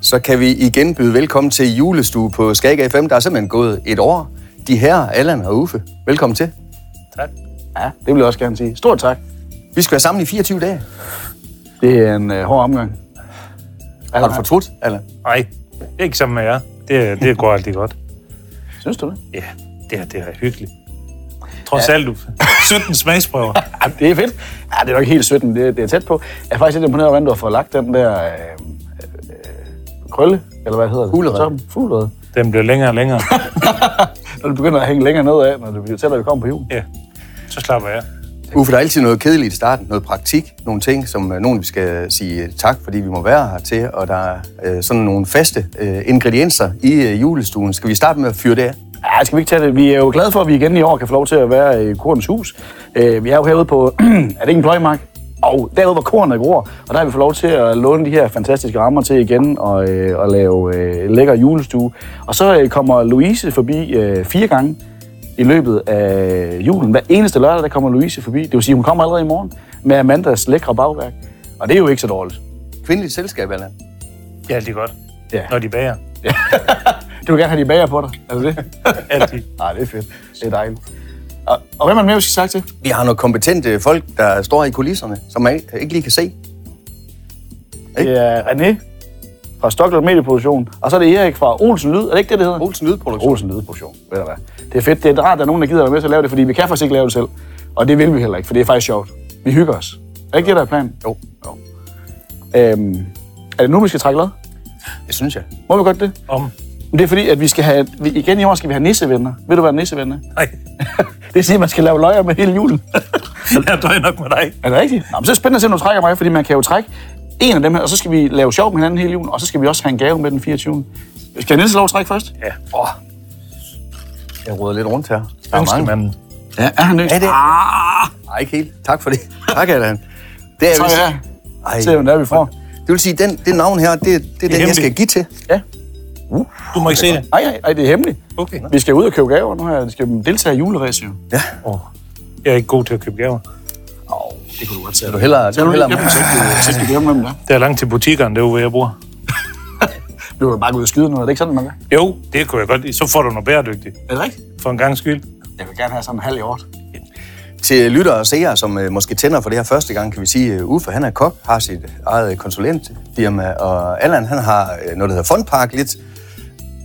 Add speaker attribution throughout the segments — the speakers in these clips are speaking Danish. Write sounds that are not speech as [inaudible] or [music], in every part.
Speaker 1: Så kan vi igen byde velkommen til julestue på Skag FM. Der er simpelthen gået et år. De her, Allan og Uffe, velkommen til.
Speaker 2: Tak.
Speaker 3: Ja, det vil jeg også gerne sige. Stort tak.
Speaker 1: Vi skal være sammen i 24 dage.
Speaker 3: Det er en øh, hård omgang.
Speaker 1: Har du fortrudt, Allan?
Speaker 2: Nej, ikke sammen med jer. Det, det går altid godt.
Speaker 3: Synes du det?
Speaker 2: Ja, det her, det her er hyggeligt. Trods ja. alt, du. [laughs] 17 smagsprøver.
Speaker 3: Ja, det er fedt. Ja, det er nok ikke helt 17, det, det er tæt på. Jeg er faktisk lidt imponeret over, hvordan du har fået lagt den der øh, øh, krølle, eller hvad hedder det?
Speaker 1: Fuglerede.
Speaker 3: Toppen. Fuglerede.
Speaker 2: Den bliver længere og længere.
Speaker 3: Når du begynder at hænge længere nedad, når du bliver tættere, vi kommer på jul.
Speaker 2: Ja, så slapper jeg.
Speaker 1: Uffe, der er altid noget kedeligt i starten. Noget praktik, nogle ting, som øh, nogen vi skal sige tak, fordi vi må være her til. Og der er øh, sådan nogle faste øh, ingredienser i øh, julestuen. Skal vi starte med at fyre det af?
Speaker 3: Ja, skal vi ikke tage det? Vi er jo glade for, at vi igen i år kan få lov til at være i Korens Hus. Øh, Vi er jo herude på, [clears throat] er det ikke en pløjmark? Og derude, hvor kornet gror, og der har vi fået lov til at låne de her fantastiske rammer til igen og, øh, og lave øh, lækker julestue. Og så øh, kommer Louise forbi øh, fire gange i løbet af julen. Hver eneste lørdag, der kommer Louise forbi. Det vil sige, hun kommer allerede i morgen med Amandas lækre bagværk. Og det er jo ikke så dårligt.
Speaker 1: Kvindeligt selskab, Allan.
Speaker 2: Det er altid godt.
Speaker 3: Ja.
Speaker 2: Når de bager.
Speaker 3: Du vil gerne have de bager på dig, er det det?
Speaker 2: Altid.
Speaker 3: [laughs] Nej, det er fedt. Det er dejligt. Og, og hvem er det mere, vi skal sagt til?
Speaker 1: Vi har nogle kompetente folk, der står i kulisserne, som man ikke lige kan se.
Speaker 3: Det er René fra Stockholm Medieproduktion, og så er det Erik fra Olsen Lyd. Er det ikke det, det hedder?
Speaker 1: Olsen Lydproduktion.
Speaker 3: Olsen Lydproduktion, ved du hvad. Det er fedt. Det er rart, at der er nogen, der gider være med til at lave det, fordi vi kan faktisk ikke lave det selv. Og det vil vi heller ikke, for det er faktisk sjovt. Vi hygger os. Er det ikke det, der er planen?
Speaker 1: Jo,
Speaker 3: Øhm, er det nu, vi skal trække lod?
Speaker 1: det synes jeg.
Speaker 3: Må vi godt det?
Speaker 2: Om.
Speaker 3: Men det er fordi, at vi skal have, vi, igen i år skal vi have nissevenner. Ved du, hvad en nisseven er?
Speaker 2: Nej,
Speaker 3: [laughs] Det siger, at man skal lave løjer med hele [laughs] julen.
Speaker 2: [laughs] jeg døjer nok med dig.
Speaker 3: Er det rigtigt? Nå, men så er det spændende at se, når du trækker mig, fordi man kan jo trække en af dem her, og så skal vi lave sjov med hinanden hele julen, og så skal vi også have en gave med den 24. Skal jeg Niels have lov at trække først?
Speaker 2: Ja.
Speaker 3: Oh,
Speaker 1: Jeg råder lidt rundt her. Der er mange.
Speaker 2: Ønskemanden.
Speaker 3: ja, er han
Speaker 1: Er det?
Speaker 3: Ah,
Speaker 1: Nej, ikke helt. Tak for det. [laughs] Tak, Allan. Det
Speaker 3: så
Speaker 1: vist-
Speaker 3: ja.
Speaker 1: Ej.
Speaker 3: Se, hvordan det er, vi får.
Speaker 1: Det vil sige, den, det navn her, det, det er den, jeg
Speaker 2: hemmeligt.
Speaker 1: skal give til.
Speaker 3: Ja.
Speaker 2: Du må ikke se det.
Speaker 3: Ej, ej, ej, det er hemmeligt.
Speaker 2: Okay.
Speaker 3: Vi skal ud og købe gaver nu her. Vi skal deltage i juleræs, jo.
Speaker 1: Ja.
Speaker 2: Oh. Jeg er ikke god til at købe gaver.
Speaker 3: Åh, det kunne du godt tage.
Speaker 1: Er du hellere,
Speaker 3: Så
Speaker 1: er
Speaker 3: er
Speaker 1: du
Speaker 3: du
Speaker 1: hellere
Speaker 3: lige glemt, så ikke- så skal du glemme, hvem det er.
Speaker 2: Der er langt til butikkerne derude, hvor jeg bor.
Speaker 3: Du kan bare gå ud og skyde noget. Er det ikke sådan, man gør?
Speaker 2: Jo, det kunne jeg godt lide. Så får du noget bæredygtigt.
Speaker 3: Er det rigtigt?
Speaker 2: For en gang skyld.
Speaker 3: Jeg vil gerne have sådan en halv i år.
Speaker 1: Til lyttere og seere, som øh, måske tænder for det her første gang, kan vi sige, at Uffe han er kok, har sit eget konsulentfirma, og Allan han har øh, noget, der hedder Fondpark, lidt,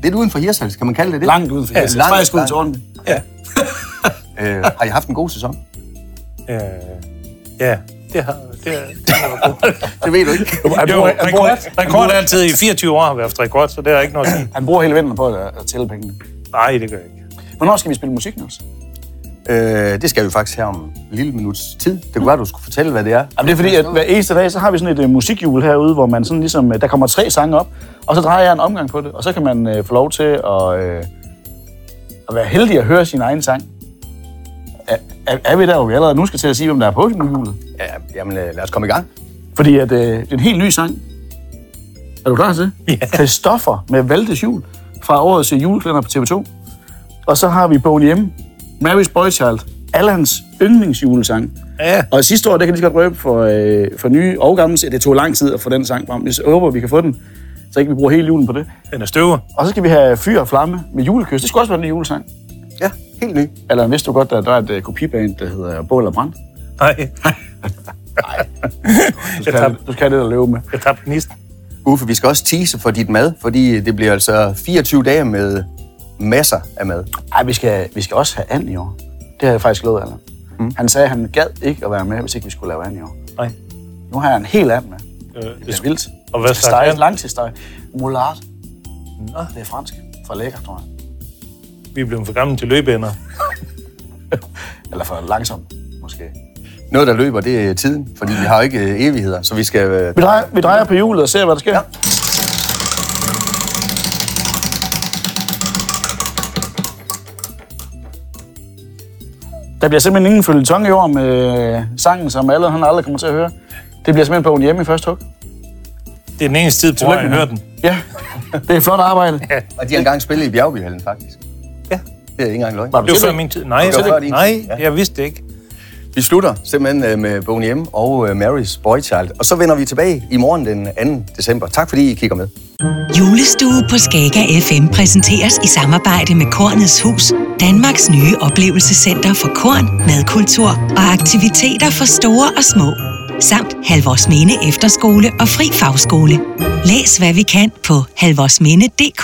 Speaker 1: lidt uden for Hirsals, kan man kalde det det?
Speaker 3: Langt uden for
Speaker 1: Ja,
Speaker 3: Hirtshals.
Speaker 1: langt,
Speaker 3: Faktisk ud til
Speaker 1: langt.
Speaker 3: Ordentlig.
Speaker 2: Ja.
Speaker 1: Øh, har I haft en god sæson?
Speaker 2: Øh, ja, det har, det har, det har været godt.
Speaker 1: [laughs] Det ved du [laughs] ikke.
Speaker 2: Jo, rekord, rekord er altid i 24 år har vi haft rekord, så det er ikke noget at sige.
Speaker 3: Han bruger hele vinteren på at, at tælle pengene.
Speaker 2: Nej, det gør jeg ikke.
Speaker 3: Hvornår skal vi spille musik, Niels?
Speaker 1: øh, det skal vi faktisk her om en lille minuts tid. Det kunne være, du skulle fortælle, hvad det er.
Speaker 3: Jamen, det er fordi, at hver eneste dag, så har vi sådan et uh, musikhjul herude, hvor man sådan ligesom, uh, der kommer tre sange op, og så drejer jeg en omgang på det, og så kan man uh, få lov til at, uh, at være heldig at høre sin egen sang. Er, er, er vi der, hvor vi allerede nu skal til at sige, hvem der er på hjulet?
Speaker 1: Ja, jamen, øh, lad os komme i gang.
Speaker 3: Fordi at, uh, det er en helt ny sang. Er du klar til det? Ja. Christoffer med Valdes Jul fra årets øh, juleklænder på TV2. Og så har vi Boney hjemme, Mary's Boychild, Allans yndlingsjulesang.
Speaker 2: Ja,
Speaker 3: Og sidste år, der kan de så godt røbe for, øh, for nye og gamle, seere. det tog lang tid at få den sang frem. Jeg håber, vi kan få den, så ikke vi bruger hele julen på det.
Speaker 2: den er støvet.
Speaker 3: Og så skal vi have Fyr og Flamme med julekys. Det skulle også være en ny julesang.
Speaker 1: Ja, helt ny.
Speaker 3: Eller vidste du godt, at der er et øh, kopiband, der hedder Bål og Brand?
Speaker 2: Nej,
Speaker 3: Du skal, have, du skal have det, der løbe med.
Speaker 2: jeg tabte nisten.
Speaker 1: Uffe, vi skal også tease for dit mad, fordi det bliver altså 24 dage med masser af mad.
Speaker 3: Ej, vi skal, vi skal også have and i år. Det har jeg faktisk lovet Allan. Mm. Han sagde, at han gad ikke at være med, hvis ikke vi skulle lave and i år.
Speaker 2: Nej.
Speaker 3: Nu har jeg en helt and med.
Speaker 2: Øh,
Speaker 3: Det er vildt.
Speaker 2: Og hvad
Speaker 3: Vi skal
Speaker 2: slags
Speaker 3: stege,
Speaker 2: and?
Speaker 3: langt til steg. Moulard.
Speaker 2: Nå,
Speaker 3: Det er fransk. For lækker, tror jeg.
Speaker 2: vi er blevet for gamle til løbeender.
Speaker 3: Eller for langsom, måske.
Speaker 1: Noget, der løber, det er tiden, fordi vi har jo ikke øh, evigheder, så vi skal... øh,
Speaker 3: Vi drejer, vi drejer på hjulet og ser, hvad der sker. Ja. Der bliver simpelthen ingen følgetong i år med øh, sangen, som alle han aldrig kommer til at høre. Det bliver simpelthen på en hjemme i første hug.
Speaker 2: Det er den eneste tid, på året, jeg hører den.
Speaker 3: Ja, det er flot arbejde.
Speaker 1: Og de har engang spillet i Bjergbyhallen, faktisk.
Speaker 2: Ja.
Speaker 1: Det er ikke engang løgn.
Speaker 3: Var du
Speaker 2: Det var
Speaker 3: til
Speaker 2: før min tid. Nej,
Speaker 1: Det var før
Speaker 2: jeg,
Speaker 1: din
Speaker 2: nej,
Speaker 1: tid, ja.
Speaker 2: jeg vidste det ikke.
Speaker 1: Vi slutter simpelthen øh, med Boney M. og øh, Mary's Boychild. Og så vender vi tilbage i morgen den 2. december. Tak fordi I kigger med.
Speaker 4: Julestue på Skaga FM præsenteres i samarbejde med Kornets Hus, Danmarks nye oplevelsescenter for korn, madkultur og aktiviteter for store og små. Samt Halvorsminde Efterskole og Fri Fagskole. Læs hvad vi kan på halvorsminde.dk.